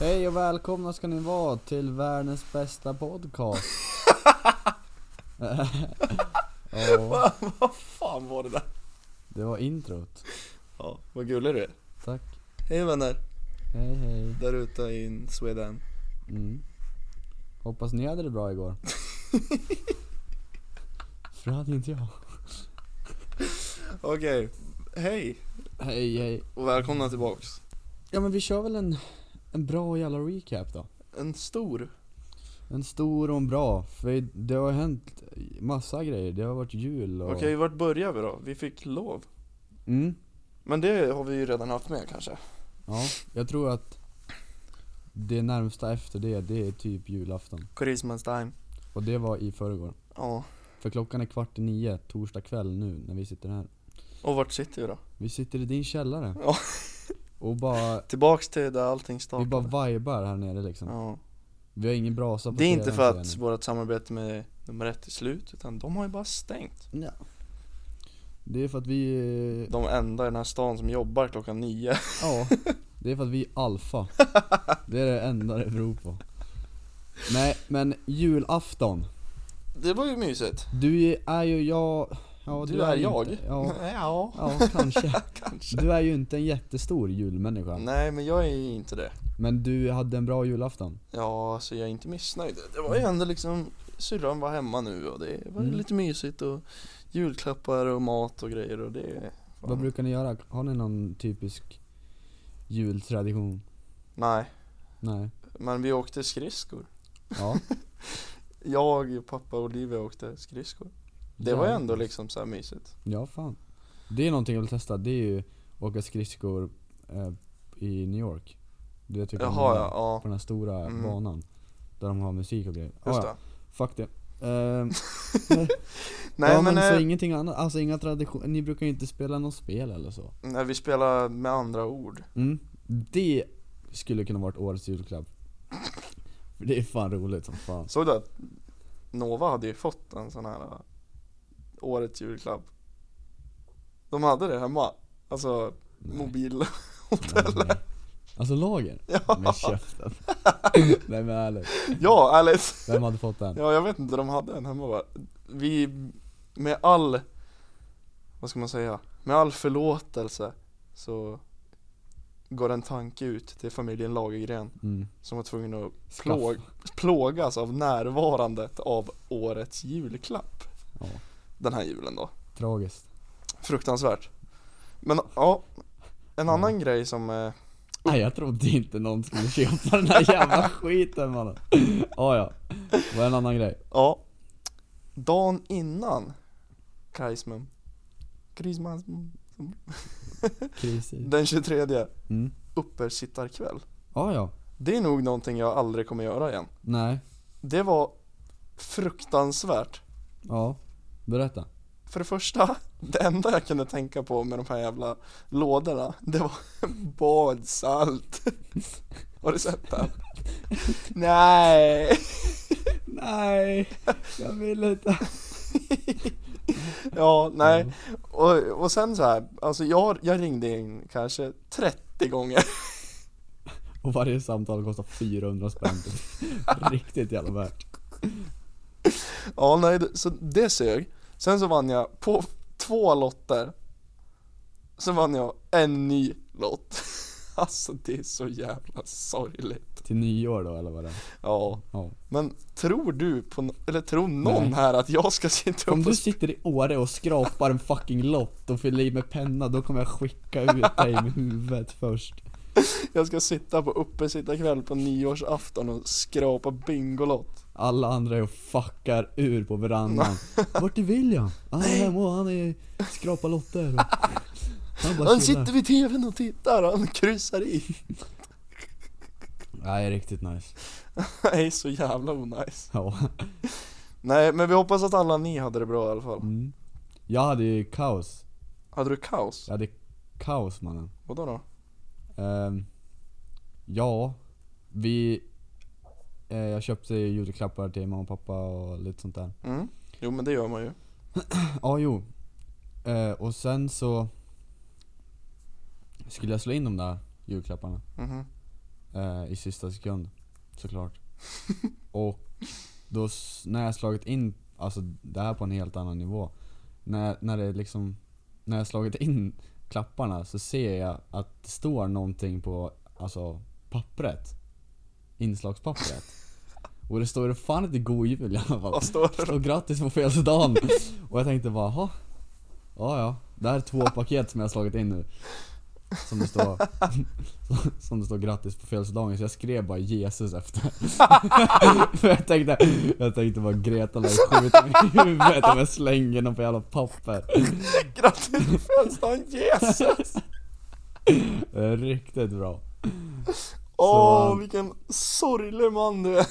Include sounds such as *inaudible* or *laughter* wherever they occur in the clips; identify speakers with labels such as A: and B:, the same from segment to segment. A: Hej och välkomna ska ni vara till världens bästa podcast. ja,
B: *laughs* Vad fan var det där?
A: det var introt.
B: Ja, vad gullig du är.
A: Tack.
B: Hej vänner,
A: Hej hej.
B: där ute i Sweden.
A: Mm. Hoppas ni hade det bra igår. För hade inte jag.
B: Okej, hej
A: Hej hej.
B: och välkomna tillbaks.
A: Ja men vi kör väl en, en bra jävla recap då.
B: En stor.
A: En stor och en bra. För det har hänt massa grejer. Det har varit jul och...
B: Okej, vart börjar vi då? Vi fick lov.
A: Mm.
B: Men det har vi ju redan haft med kanske.
A: Ja, jag tror att det närmsta efter det, det är typ julafton.
B: Christmas time.
A: Och det var i förrgår.
B: Ja,
A: För klockan är kvart i nio, torsdag kväll nu när vi sitter här.
B: och vart sitter vi då?
A: Vi sitter i din källare.
B: Ja.
A: Och bara,
B: Tillbaks till där allting
A: vi
B: startade.
A: bara vibar här nere liksom.
B: Ja.
A: Vi har ingen brasa på
B: Det är inte
A: tvn,
B: för
A: säger
B: att vårt samarbete med nummer ett är slut, utan de har ju bara stängt.
A: ni. Ja. Det är för att vi, eh,
B: De enda i den här stan som jobbar klockan nio. *laughs*
A: ja. Det är för att vi är alfa. Det är det enda det beror på. Nej men julafton.
B: Det var ju mysigt.
A: Du är ju jag, ja
B: du, är
A: ju
B: jag.
A: Inte, ja.
B: *laughs* ja.
A: Ja, kanske.
B: Kanske.
A: Du är ju inte en jättestor julmänniska.
B: Nej, men jag är ju inte det.
A: Men du hade en bra julafton.
B: Ja, så jag är inte missnöjd. Det var ju ändå liksom, syrran var hemma nu och det var ju
A: Mm.
B: lite mysigt och julklappar och mat och grejer och det... fan.
A: Vad brukar ni göra? Har ni någon typisk jultradition?
B: Nej,
A: Nej.
B: men vi åkte skridskor.
A: Ja.
B: Jag, pappa och Olivia åkte skridskor. *laughs* Det var ju
A: Ja.
B: ändå liksom så här mysigt.
A: Ja, fan. Det är någonting jag vill testa. Det är ju åka skridskor eh, i New York. Du vet vilka
B: Jaha,
A: de
B: ja.
A: har?
B: ja.
A: På den här stora
B: Mm.
A: banan. Där de har musik och grejer.
B: Just
A: Ah,
B: det.
A: ja. Fuck
B: *laughs*
A: det. Ehm,
B: Nej,
A: ja, men,
B: men,
A: så
B: eh,
A: ingenting annat, alltså inga traditioner, ni brukar ju inte spela något spel eller så?
B: nej, vi spelar med andra ord.
A: Mm. Det skulle kunna varit årets julklapp. För det är fan roligt som fan.
B: Såg du att Nova hade ju fått en sån här eh, årets julklapp? De hade det hemma. Alltså,
A: Nej.
B: mobil.
A: Nej, nej. Alltså lager?
B: *laughs* Ja.
A: Med
B: *laughs*
A: käften. Nej men ärligt.
B: Ja, ärligt.
A: Vem hade fått den?
B: Ja, jag vet inte, de hade en hemma bara. Vi, med all, vad ska man säga, med all förlåtelse så går en tanke ut till familjen Lagergren
A: Mm.
B: som var tvungen att
A: Skaff.
B: plåg, plågas av närvarandet av årets julklapp
A: Ja,
B: den här julen då.
A: tragiskt.
B: Fruktansvärt. Men ja,
A: Mm.
B: en annan grej som, eh,
A: Nej jag trodde inte någon skulle köpa den här *laughs* jävla skiten mannen. Ah, ja, det var en annan grej.
B: ja, dagen innan Kreisman, Christmas,
A: Kris i.
B: den 23
A: Mm.
B: uppersittarkväll.
A: Ah, ja,
B: Det är nog någonting jag aldrig kommer göra igen.
A: nej,
B: Det var fruktansvärt.
A: ja. Berätta.
B: För det första, *laughs* det enda jag kunde tänka på med de här jävla lådorna, det var *laughs* badsalt. *laughs* Har du sett den? Nej!
A: Nej, jag vill inte.
B: Ja, nej. Och, och sen så här, alltså jag, jag ringde in kanske 30 gånger.
A: Och varje samtal kostar 400 *laughs* spänn. Riktigt jävla värt.
B: Ja, nej, det- så det sög. Sen så vann jag på två lotter. Sen vann jag en ny lott. *laughs* Alltså det är så jävla sorgligt.
A: Till nyår då eller vad det är.
B: Ja,
A: Ja.
B: men tror du på, nå- eller tror någon
A: Nej.
B: här att jag ska sitta
A: Om
B: upp
A: du
B: och sp-
A: sitter i Åre och skrapar en fucking lott och fyller i med penna, då kommer jag skicka ut dig med huvudet först.
B: jag ska sitta på uppesittarkväll på nyårsafton och skrapa bingolott?
A: Alla andra är och fuckar ur på verandan. Vart är William? Han är hemma och han är, skrapar lotter. Och han bara
B: Han
A: chillar.
B: sitter vid tvn och tittar och han kryssar i. *laughs*
A: Nej, riktigt nice.
B: Nej, så jävla onajs.
A: Ja.
B: Nej, men vi hoppas att alla ni hade det bra i alla fall.
A: Mm. Jag hade ju kaos.
B: Hade du kaos?
A: Jag hade kaos mannen.
B: Vadå då?
A: Ehm, ja, vi... eh, jag köpte julklappar till mamma och pappa och lite sånt där.
B: Mm. Jo men det gör man ju.
A: Ja, jo. Eh, och sen så skulle jag slå in de där julklapparna.
B: Mhm.
A: eh, i sista sekund. Såklart. och då, s- när jag slagit in, alltså det här på en helt annan nivå. När, när det liksom, när jag slagit in klapparna så ser jag att det står någonting på, alltså pappret. Inslagspappret. Och det står det fan inte god jul i alla fall.
B: Vad står det
A: Det
B: då?
A: står grattis på födelsedagen. Och jag tänkte bara, jaha. Ja, ja. Det här är två paket som jag har slagit in nu. Som det står, *laughs* som- som det står grattis på födelsedagen. Så jag skrev bara Jesus efter. *laughs* För jag tänkte, jag tänkte bara Greta lär skjuta mig i huvudet om jag slänger någon på jävla papper. *laughs*
B: Grattis på födelsedagen Jesus!
A: Det är Riktigt bra.
B: Åh,
A: *laughs* Så-
B: vilken sorglig man du är.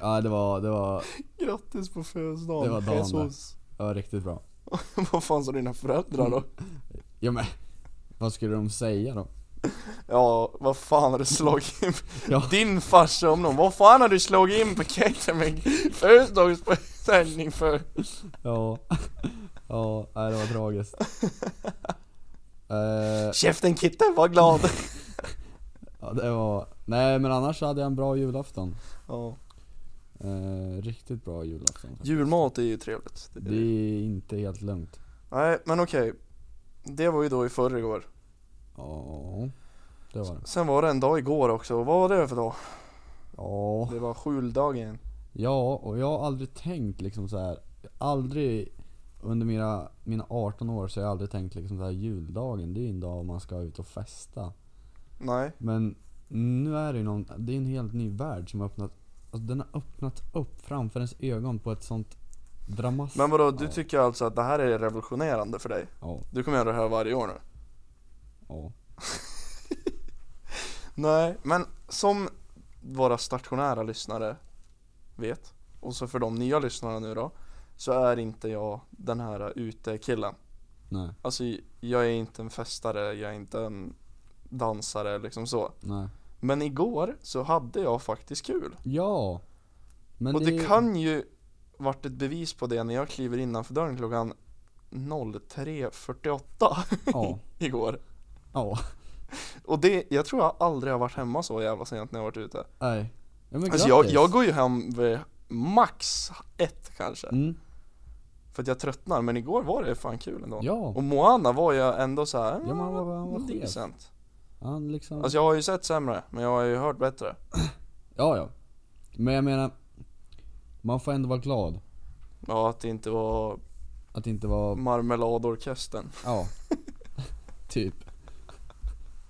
A: Ja, det var, det var,
B: Grattis på födelsedagen
A: Det var dagen
B: Jesus. *laughs*
A: det var riktigt bra.
B: Vad fan sa dina föräldrar
A: Mm.
B: då?
A: Ja men, vad skulle de säga då?
B: Ja, vad fan har du slagit in?
A: *laughs* Ja.
B: Din farsa om någon, vad fan har du slagit in paketen med födelsedagspresent för?
A: Ja, *laughs* ja, nej, det var tragiskt. Eh,
B: Käften Kitten,
A: *laughs*
B: var glad!
A: Ja, det var... Nej men annars hade jag en bra julafton.
B: Ja.
A: Eh, riktigt bra julafton. faktiskt.
B: Julmat är ju trevligt. Det är
A: Det
B: det.
A: är inte helt lugnt.
B: Nej, men okej. Det var ju då i förrgår.
A: Ja, det var det.
B: Sen var det en dag igår också, och vad var det för dag?
A: Ja,
B: Det var juldagen.
A: ja och jag har aldrig tänkt liksom så här. Aldrig under mina, mina 18 år så har jag aldrig tänkt liksom så här juldagen, det är ju en dag man ska ut och festa.
B: Nej.
A: Men nu är det ju någon, det är en helt ny värld som har öppnat, alltså den har öppnat upp framför ens ögon på ett sånt dramas...
B: Men vadå, du
A: Ja.
B: tycker alltså att det här är revolutionerande för dig?
A: Ja,
B: Du kommer göra det här varje år nu?
A: ja.
B: Nej, men som våra stationära lyssnare vet, och så för de nya lyssnarna nu då, så är inte jag den här utekillen.
A: Nej,
B: Alltså jag är inte en festare, jag är inte en dansare liksom så.
A: nej.
B: Men igår så hade jag faktiskt kul.
A: Ja! Men
B: och det, kan ju varit ett bevis på det när jag kliver innanför dörren klockan 03.48
A: Ja,
B: igår.
A: ja,
B: Och det, jag tror jag aldrig har varit hemma så jävla sent när jag varit ute.
A: nej. Ja, men
B: Alltså jag,
A: grattis.
B: jag går ju hem vid max ett kanske,
A: mm.
B: för att jag tröttnar, men igår var det fan kul ändå
A: Ja,
B: Och Moana var jag ändå så här,
A: men han var- han var
B: "Mm,
A: skev."
B: decent
A: han liksom...
B: Alltså jag har ju sett sämre, men jag har ju hört bättre
A: Ja, ja. Men jag menar, man får ändå vara glad
B: Ja, att det inte var
A: att det inte
B: Mm.
A: vara,
B: marmeladorkestern
A: ja. *laughs* typ.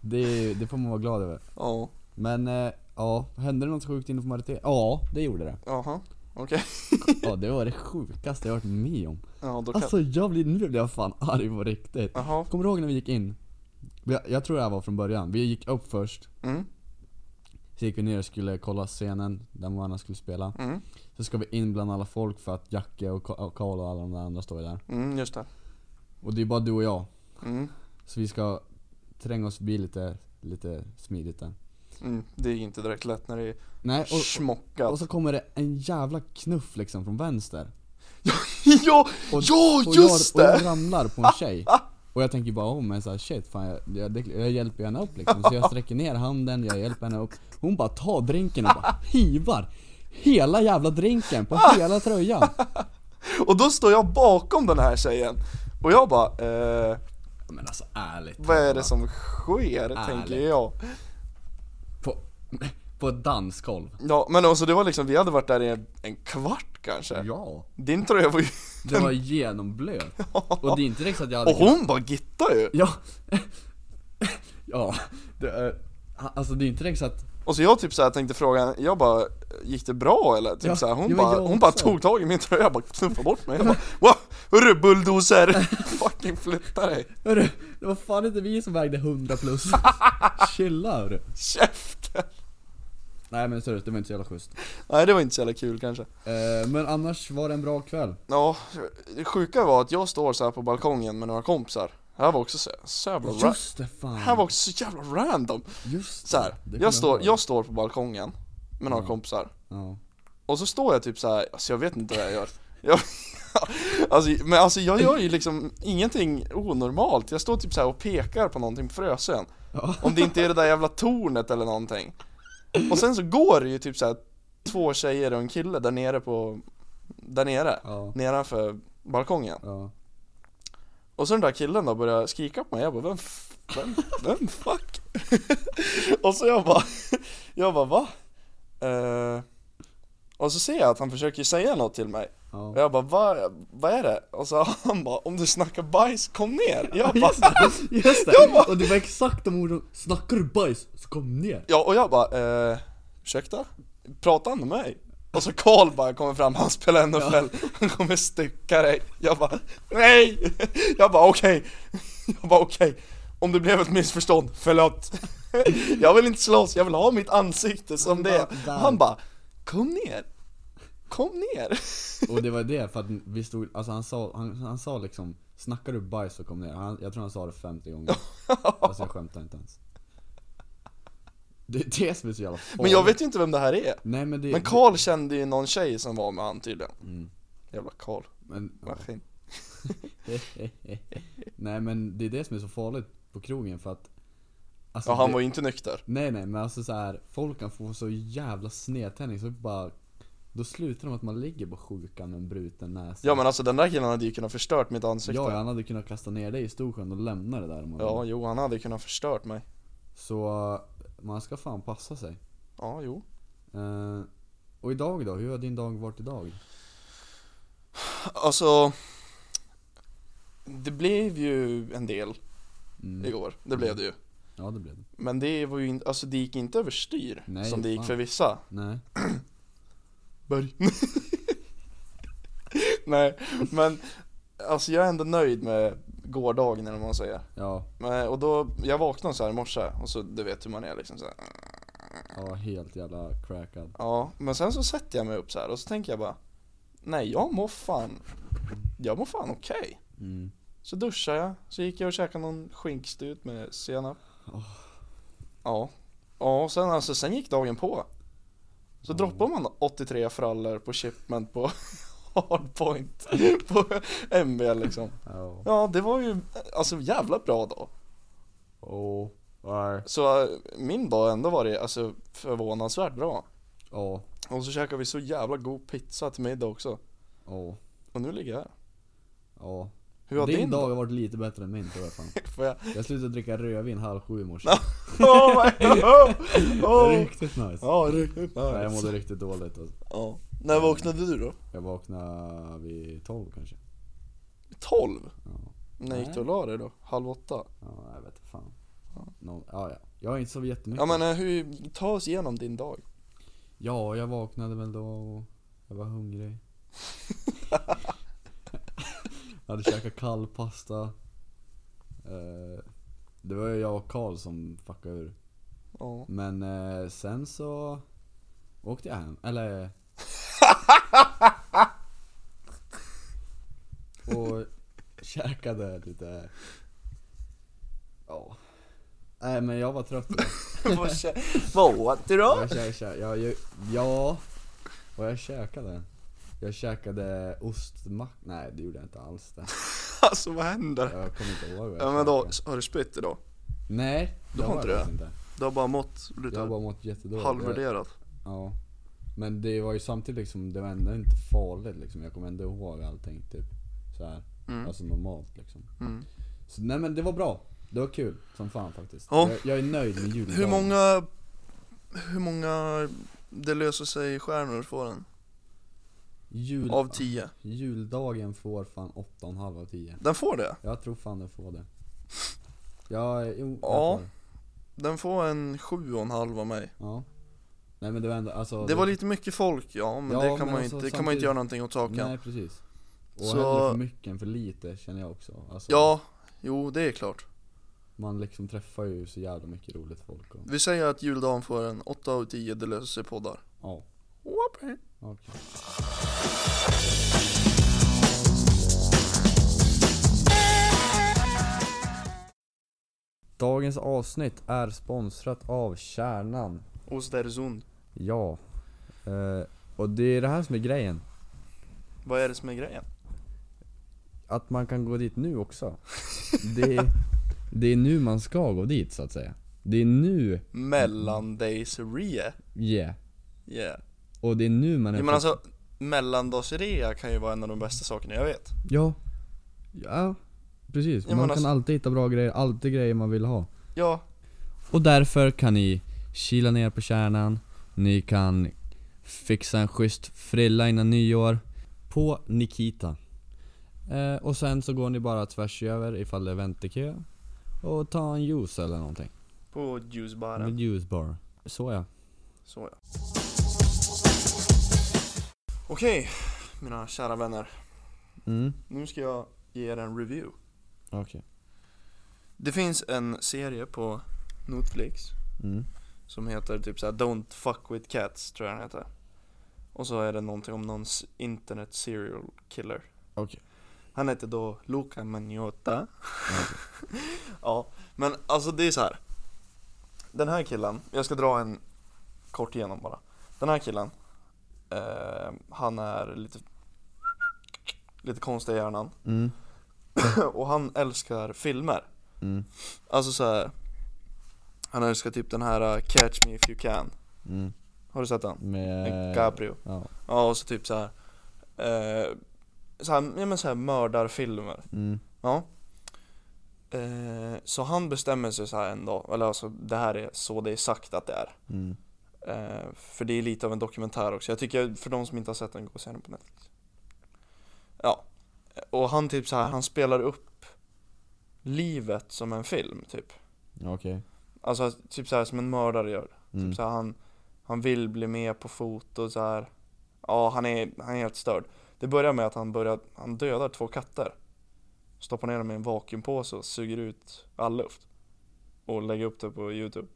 A: Det, det får man vara glad över.
B: Ja,
A: Men, eh, ja, hände det något sjukt inom majoriteten? Ja, det gjorde det.
B: jaha, okej
A: Ja, det var det sjukaste jag varit med om.
B: Ja, då kan
A: Alltså jag blir, nu blir jag fan arg på riktigt.
B: Jaha,
A: Kommer du ihåg när vi gick in? Jag, jag tror det här var från början. Vi gick upp först.
B: mm,
A: Så gick vi ner och skulle kolla scenen där Moana skulle spela.
B: mm,
A: Så ska vi in bland alla folk för att Jacke och Ka- och Karl och alla de där andra står ju där.
B: mm, just det
A: Och det är bara du och jag.
B: Mm,
A: Så vi ska tränga oss förbi lite, lite smidigt där.
B: mm, det är inte direkt lätt när det
A: Nej,
B: är
A: och,
B: smockat
A: och så kommer det en jävla knuff liksom från vänster.
B: *laughs* Ja,
A: Och-
B: ja
A: Och jag,
B: just
A: och jag
B: det!
A: ramlar på en tjej. Och jag tänker bara oh, men så här, shit, fan, jag, jag, det- jag hjälper henne upp liksom. Så jag sträcker ner handen, jag hjälper henne upp. Hon bara tar drinken och bara hivar hela jävla drinken på hela tröjan.
B: *laughs* Och då står jag bakom den här tjejen Och jag bara, eh,
A: Men alltså ärligt
B: vad är det
A: talat.
B: som sker? Tänker jag
A: På, på ett dansgolv?
B: Ja men alltså det var liksom, vi hade varit där i en, en kvart kanske
A: Ja.
B: Din tröja var ju,
A: Det var genomblöt. Och det är inte direkt så att jag hade
B: och hon bara gittade ju!
A: Ja. *laughs* ja. Det är, alltså det är inte direkt så att...
B: Och så jag typ såhär tänkte fråga henne, jag bara, gick det bra eller? Typ
A: Ja,
B: såhär, hon,
A: ja, men
B: bara,
A: jag
B: hon bara
A: också.
B: tog tag i min tröja och bara knuffade bort mig Jag bara, wow, hörru
A: *laughs*
B: bulldozer! Fucking flytta dig!
A: Hörru, det var fan inte vi som vägde 100
B: *laughs*
A: plus. Chilla hörru.
B: Käften!
A: Nej men seriöst, det var inte så jävla schysst.
B: Nej det var inte så jävla kul kanske
A: Eh, men annars var det en bra kväll.
B: Ja, det sjuka var att jag står så här på balkongen med några kompisar Det här var också så, så jävla ra-
A: Just det fan.
B: Det här var också så jävla random!
A: Just det.
B: Så här,
A: Det kommer
B: jag, står,
A: ihåg.
B: jag står på balkongen med några
A: Ja.
B: kompisar
A: Ja.
B: Och så står jag typ så här, alltså jag vet inte vad jag gör jag, *laughs* alltså, Men alltså jag gör ju liksom ingenting onormalt Jag står typ så här och pekar på någonting på Frösön
A: Ja.
B: Om det inte är det där jävla tornet eller någonting Och sen så går det ju typ så här två tjejer och en kille där nere på, där nere,
A: Ja,
B: nedanför balkongen.
A: ja.
B: Och så den där killen då började skrika på mig, jag bara vem, f- vem, vem fuck? *laughs* och så jag bara, *laughs* jag bara va? Eh, och så ser jag att han försöker säga något till mig.
A: ja.
B: Och jag bara va, vad är det? Och så han bara om du snackar bajs kom ner! Jag bara
A: Just det! *laughs* Just det. Och det var exakt de orden, snackar du bajs så kom ner!
B: Ja, och jag bara, eh, ursäkta? Pratar han med mig? Och så Karl bara kommer fram, han spelar NFL, han kommer stycka dig. Jag bara, nej! Jag bara okej, jag bara okej. Om det blev ett missförstånd, förlåt. Jag vill inte slåss, jag vill ha mitt ansikte som det är.
A: Där.
B: Han bara, kom ner. Kom ner.
A: Och det var det, för att vi stod, alltså han sa, han, han sa liksom Snackar du bajs så kom ner, han, jag tror han sa det 50 gånger
B: *laughs*
A: Alltså jag skämtar inte ens Det är det som är så jävla farligt
B: Men jag vet ju inte vem det här är.
A: Nej men det
B: Men Karl kände ju någon tjej som var med han tydligen.
A: Mm.
B: Jävla Karl,
A: men,
B: maskin.
A: *laughs* Nej men det är det som är så farligt på krogen för att alltså,
B: Ja, han
A: det-
B: var ju inte nykter.
A: Nej nej men alltså så här, folk kan få så jävla snedtändning så bara Då slutar de att man ligger på sjukan med en bruten näsa
B: Ja men alltså den där killen hade ju kunnat förstört mitt ansikte
A: Ja,
B: Ja,
A: han hade kunnat kasta ner dig i Storsjön och lämna det där om man vill.
B: jo han hade kunnat förstört mig
A: Så eh, man ska fan passa sig.
B: Ja jo
A: Eh, och idag då? Hur har din dag varit idag?
B: Alltså Det blev ju en del
A: Mm.
B: igår, det blev det ju
A: Ja det blev det.
B: Men det var ju inte, alltså det gick inte överstyr
A: Nej,
B: som det gick
A: fan.
B: för vissa *laughs*
A: Nej.
B: Berg Nej men Alltså jag är ändå nöjd med gårdagen eller vad man säger
A: Ja,
B: men, Och då, jag vaknade så här i morse och så du vet hur man är liksom så här.
A: jag var helt jävla crackad.
B: Ja, men sen så sätter jag mig upp så här och så tänker jag bara Nej jag mår fan Jag mår fan okej
A: Mm.
B: Så duschade jag, så gick jag och käkade någon skinkstut med senap
A: Åh.
B: Ja Ja, och sen alltså, sen gick dagen på Så
A: Ja.
B: droppar man 83 frallor på shipment på *laughs* Hardpoint På MB liksom
A: Ja.
B: Ja, det var ju alltså jävla bra dag
A: Åh. Ja.
B: Så eh, min dag har ändå var det alltså förvånansvärt bra
A: Ja.
B: Och så käkade vi så jävla god pizza till middag också
A: Ja.
B: Och nu ligger jag här
A: Ja.
B: Hur har
A: Din,
B: din,
A: dag har varit lite bättre än min tror jag fan.
B: *laughs* Får jag? *laughs*
A: Jag slutade dricka rödvin halv sju i morse.
B: Oh my god!
A: *laughs*
B: Oh.
A: Riktigt nice.
B: Ja, riktigt
A: Nej, jag
B: nice.
A: mådde riktigt dåligt alltså.
B: Ja. När vaknade du då?
A: Jag vaknade vid tolv kanske.
B: 12?
A: Ja.
B: När gick du och la dig då? Halv åtta?
A: Ja, jag vet inte fan.
B: Ja.
A: Nå, ja, ja. Jag har inte sovit jättemycket.
B: Ja men eh, hur, ta oss igenom din dag
A: Ja, jag vaknade väl då och jag var hungrig.
B: *laughs*
A: jag hade käkat kall pasta. Eh, det var ju jag och Karl som fuckade ur.
B: Ja
A: *laughs* Men eh, sen så åkte jag hem.
B: *laughs*
A: Eller... och käkade lite... Ja. Nej men jag var trött idag.
B: Vad kä- Vad åt du
A: Jag kä- kä- jag, jag, ja, vad jag käkade? Jag käkade ostmack... Nej det gjorde jag inte alls det.
B: *laughs* Alltså vad händer?
A: Jag kommer inte ihåg vad jag
B: Ja men då,
A: käkade.
B: har du spytt idag?
A: Nej,
B: Då
A: jag
B: har
A: har
B: inte du
A: faktiskt inte.
B: Du har bara mått
A: Jag har
B: lite
A: bara mått jättedåligt. Jag-
B: halvvärderat
A: Ja. Men det var ju samtidigt liksom, det var ändå inte farligt liksom. Jag kommer ändå ihåg allting typ. Så här.
B: mm.
A: Alltså normalt liksom.
B: Mm.
A: Så nej men det var bra. Det var kul som fan faktiskt.
B: Ja.
A: Jag, jag är nöjd med juldagen.
B: Hur många, hur många det löser sig stjärnor får den?
A: Jul,
B: Av tio?
A: Juldagen får fan 8,5 av 10.
B: Den får det?
A: Jag tror fan den får det. Jag, jo,
B: Ja.
A: jag får.
B: Den får en sju och en halv av mig
A: ja. Nej men det var ändå, alltså.
B: Det var lite mycket folk ja, men
A: Ja,
B: det kan
A: men
B: man ju
A: alltså
B: inte, det kan man
A: samtidigt-
B: ju inte göra någonting åt saken
A: Nej precis. Och
B: Så-
A: hellre för mycket än för lite känner jag också. Alltså,
B: Ja, jo det är klart
A: Man liksom träffar ju så jävla mycket roligt folk och,
B: Vi säger att juldagen får en 8 av 10 Det löser sig poddar
A: ja.
B: Whoop.
A: Okej. Dagens avsnitt är sponsrat av Kärnan.
B: Ostersund
A: Ja. Eh, och det är det här som är grejen.
B: Vad är det som är grejen?
A: *laughs* Att man kan gå dit nu också. Det är, det är nu man ska gå dit så att säga. Det är nu,
B: Mellandagsrea.
A: yeah.
B: Yeah.
A: Och det är nu man är
B: Jo men alltså, mellandagsrea kan ju vara en av de bästa sakerna jag vet.
A: Ja. Ja, precis.
B: alltså- Ja, men
A: man kan
B: alltså-
A: alltid hitta bra grejer, alltid grejer man vill ha.
B: Ja,
A: Och därför kan ni kila ner på kärnan, ni kan fixa en schysst frilla innan nyår på Nikita. Eh, och sen så går ni bara tvärs över ifall det är väntekö och ta en juice eller någonting.
B: på
A: En
B: juicebaren.
A: juice bar. Så ja.
B: Så ja. Okej, mina kära vänner.
A: Mm.
B: Nu ska jag ge er en review.
A: Okej.
B: Det finns en serie på Netflix
A: Mm.
B: Som heter typ såhär Don't fuck with cats tror jag den heter Och så är det någonting om någon s- internet serial killer
A: Okej.
B: Han heter då Luca Magnotta *laughs* Ja, men alltså det är så här. Den här killen, jag ska dra en kort igenom bara Den här killen eh, Han är lite Lite konstig i hjärnan *laughs*
A: Mm.
B: Och han älskar filmer
A: Mm.
B: Alltså så här. Han älskar typ den här eh, Catch Me If You Can
A: Mm.
B: Har du sett den?
A: Med...
B: Caprio.
A: Eh, Ja.
B: Ja, och så typ så här. Eh, så här, ja, men så här mördarfilmer.
A: Mm.
B: Ja. Eh, så han bestämmer sig så här en dag, eller alltså det här är så det är sagt att det är.
A: Mm.
B: Eh, för det är lite av en dokumentär också. Jag tycker för de som inte har sett den, gå och se den på Netflix. Ja. Och han typ så här, han spelar upp livet som en film typ.
A: Okej.
B: Alltså typ så här som en mördare gör.
A: Mm.
B: Typ så här, han, han vill bli med på foto så här. Ja, han är, han är helt störd. Det börjar med att han, börjar, han dödar två katter. Stoppar ner dem i en vakuumpåse och suger ut all luft. Och lägger upp det på youtube.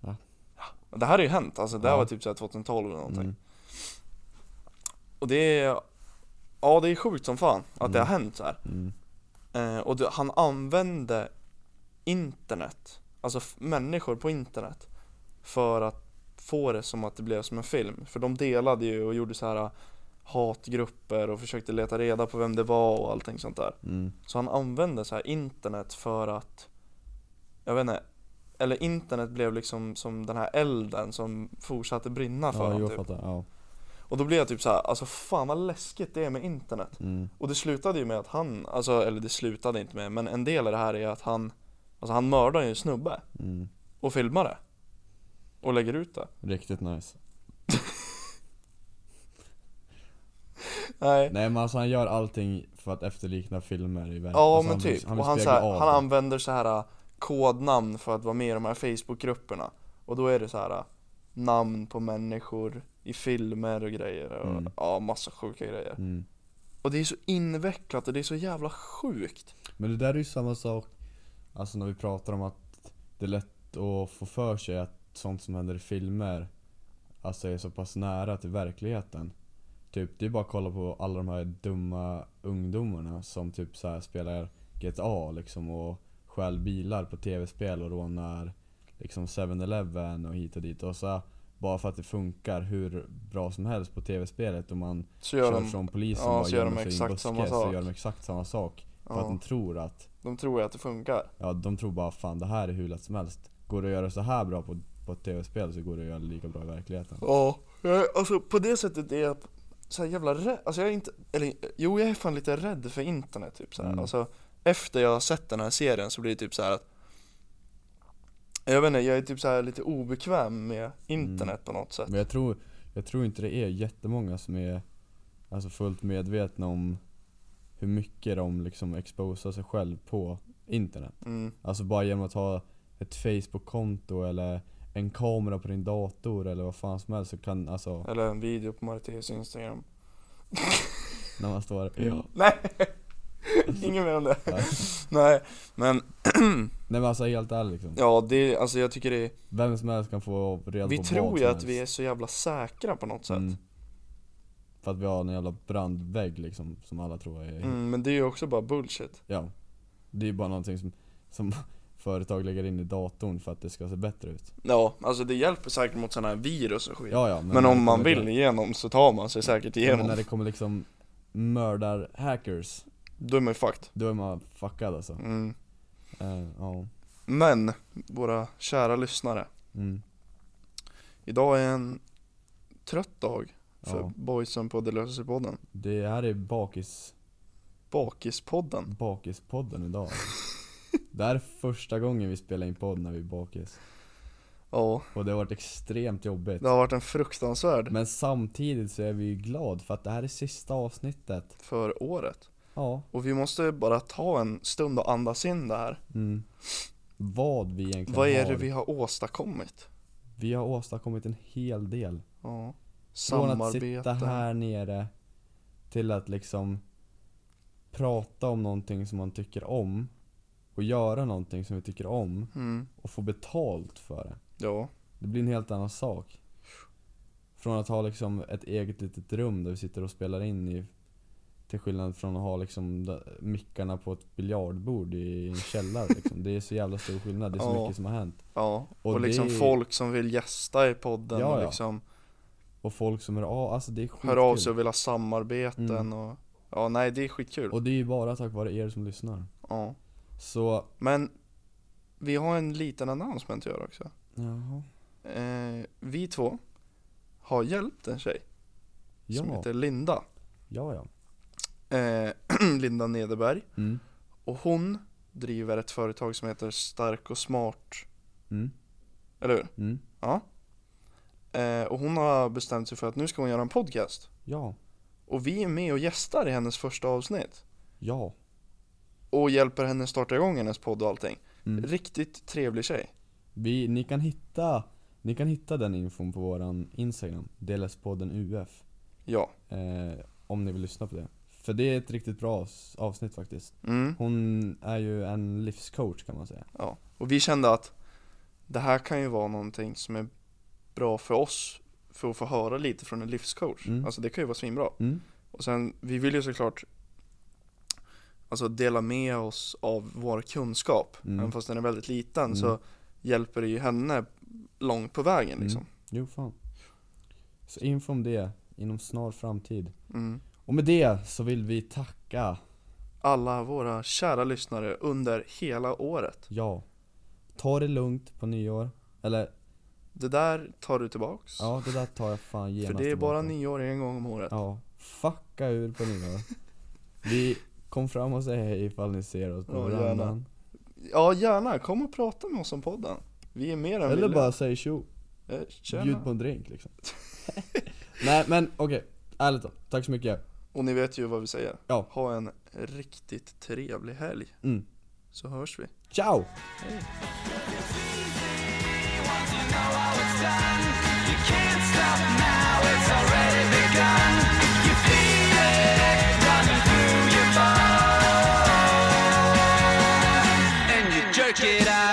A: Va?
B: Ja, det här har ju hänt, alltså det här
A: Ja.
B: var typ så här 2012 eller någonting.
A: Mm.
B: Och det är, ja det är sjukt som fan att det har
A: Mm.
B: hänt så här.
A: Mm.
B: Eh, och det, han använde internet, alltså f- människor på internet, för att få det som att det blev som en film. För de delade ju och gjorde så här eh, hatgrupper och försökte leta reda på vem det var och allting sånt där.
A: Mm.
B: Så han använde så här internet för att, jag vet inte, eller internet blev liksom som den här elden som fortsatte brinna för
A: Ja,
B: honom
A: jag
B: typ.
A: fattar. Ja.
B: Och då blev jag typ så här, alltså fan vad läskigt det är med internet.
A: Mm.
B: Och det slutade ju med att han, alltså eller det slutade inte med, men en del av det här är att han Alltså han mördar ju en snubbe
A: Mm.
B: och filmar det Och lägger ut det
A: Riktigt nice.
B: Nej
A: Nej men alltså han gör allting för att efterlikna filmer i världen.
B: Ja
A: alltså,
B: men typ,
A: vill- vill
B: och han, så
A: spegla
B: här,
A: av
B: han
A: det.
B: använder så här äh, kodnamn för att vara med i de här Facebookgrupperna Och då är det så här äh, namn på människor i filmer och grejer och
A: Mm.
B: ja massa sjuka grejer
A: mm.
B: Och det är så invecklat och det är så jävla sjukt
A: Men det där är ju samma sak, alltså när vi pratar om att det är lätt att få för sig att sånt som händer i filmer Alltså är så pass nära till verkligheten. Typ, det är bara att kolla på alla de här dumma ungdomarna som typ så här spelar GTA liksom och stjäl bilar på tv-spel och rånar liksom 7-Eleven och hit och dit. Och så här, bara för att det funkar hur bra som helst på tv-spelet och man
B: Så gör
A: kör
B: de,
A: från polisen
B: ja,
A: bara
B: så gör de
A: gömmer sig i en
B: exakt
A: buske,
B: samma
A: så
B: sak.
A: gör de exakt samma sak. För att
B: ja,
A: de tror att,
B: de tror ju att det funkar
A: ja de tror bara fan det här är hur lätt som helst. Går det att göra så här bra på, på ett tv-spel så går det att göra lika bra i verkligheten.
B: Ja, jag- alltså på det sättet är jag så här jävla rädd, alltså jag är inte, eller jo jag är fan lite rädd för internet typ så här.
A: Mm.
B: alltså efter jag har sett den här serien så blir det typ så här att jag vet inte, jag är typ så här lite obekväm med internet
A: Mm.
B: på något sätt.
A: Men jag tror, jag tror inte det är jättemånga som är alltså fullt medvetna om hur mycket de liksom exposar sig själv på internet.
B: Mm.
A: Alltså bara genom att ha ett Facebook-konto eller en kamera på din dator eller vad fan som helst så kan alltså,
B: Eller en video på
A: *laughs*
B: Mariteus Instagram.
A: när man står ja.
B: Nej! Inget mer om det.
A: Nej.
B: *laughs* Nej, men
A: Nej men alltså helt ärligt liksom.
B: ja det, är- alltså jag tycker det är,
A: Vem som helst kan få reda
B: vi
A: på
B: tror
A: vad
B: ju
A: som
B: att vi är
A: helst.
B: så jävla säkra på något sätt.
A: Mm. För att vi har en jävla brandvägg liksom, som alla tror är...
B: Mm, men det är ju också bara bullshit.
A: Ja. Det är ju bara någonting som, som *laughs* företag lägger in i datorn för att det ska se bättre ut.
B: Ja, alltså det hjälper säkert mot sådana här virus och skit.
A: Ja, ja,
B: Men,
A: när det
B: om man
A: kommer-
B: vill igenom så tar man sig säkert
A: Men
B: igenom.
A: när det kommer liksom mördar-hackers,
B: Då är man ju fucked.
A: då är man fuckad alltså.
B: Mm.
A: Eh, Ja.
B: Men, våra kära lyssnare.
A: Mm.
B: Idag är en trött dag för
A: Ja.
B: boysen på Det löser sig-podden.
A: Det här är bakis,
B: Bakispodden.
A: Mm. bakispodden
B: *laughs*
A: idag. det här är första gången vi spelar in podd när vi är bakis.
B: Ja,
A: Och det har varit extremt jobbigt.
B: det har varit en fruktansvärd
A: Men samtidigt så är vi ju glad för att det här är sista avsnittet.
B: för året.
A: Ja.
B: Och vi måste bara ta en stund och andas in det här.
A: Mm. Vad vi egentligen
B: Vad är
A: har.
B: det vi har åstadkommit?
A: Vi har åstadkommit en hel del.
B: Ja.
A: Från att sitta
B: Samarbete.
A: här nere till att liksom prata om någonting som man tycker om och göra någonting som vi tycker om
B: Mm.
A: och få betalt för det.
B: Ja.
A: Det blir en helt annan sak. Från att ha liksom ett eget litet rum där vi sitter och spelar in i till skillnad från att ha liksom d- mickarna på ett biljardbord i en källare liksom. Det är så jävla stor skillnad, det är så
B: Ja.
A: mycket som har hänt.
B: Ja, och,
A: Och det
B: liksom
A: är-
B: folk som vill gästa i podden
A: Ja,
B: och
A: ja.
B: liksom
A: Och folk som hör av, alltså det är skitkul.
B: hör av sig och vill ha samarbeten
A: Mm.
B: och Ja, nej det är skitkul.
A: Och det är ju bara tack vare er som lyssnar.
B: Ja.
A: Så,
B: Men vi har en liten announcement att göra också.
A: jaha.
B: Eh, vi två har hjälpt en tjej
A: Ja,
B: som heter Linda.
A: ja, ja.
B: Eh, *clears throat* Linda Nederberg.
A: Mm.
B: Och hon driver ett företag som heter Stark och Smart,
A: Mm.
B: eller hur?
A: Mm.
B: Ja. Eh, och hon har bestämt sig för att nu ska hon göra en podcast.
A: Ja,
B: Och vi är med och gästar i hennes första avsnitt.
A: ja.
B: och hjälper henne starta igång hennes podd och allting.
A: Mm.
B: Riktigt trevlig tjej.
A: Vi, ni kan hitta, ni kan hitta den infon på våran Instagram, Delaspodden UF.
B: Ja.
A: Eh, om ni vill lyssna på det. För det är ett riktigt bra avs- avsnitt faktiskt.
B: Mm.
A: Hon är ju en livscoach kan man säga.
B: ja. Och vi kände att det här kan ju vara någonting som är bra för oss för att få höra lite från en livscoach.
A: Mm.
B: Alltså det kan ju vara svinbra.
A: Mm.
B: Och sen, vi vill ju såklart Alltså dela med oss av vår kunskap.
A: Mm.
B: Även fast den är väldigt liten
A: Mm.
B: så hjälper det ju henne långt på vägen liksom.
A: Jo fan. Så info om det inom snar framtid.
B: Mm.
A: Och med det så vill vi tacka,
B: Alla våra kära lyssnare under hela året.
A: ja. Ta det lugnt på nyår. Eller
B: Det där tar du tillbaks.
A: ja, det där tar jag fan genast
B: För det är bara
A: tillbaka.
B: nyår en gång om året.
A: Ja, fucka ur på nyår. vi kom fram och säg hej ifall ni ser oss på
B: Ja, gärna.
A: verandan.
B: Ja, gärna. Kom och prata med oss om podden. Vi är mer än
A: Eller
B: villiga.
A: bara säg tjo.
B: Eh, tjena.
A: Bjud på en drink liksom. *laughs* Nej men okej, ärligt då. Tack så mycket.
B: Och ni vet ju vad vi säger.
A: Ja.
B: Ha en riktigt trevlig helg.
A: Mm.
B: Så hörs vi.
A: Ciao!
C: and you jerk it out.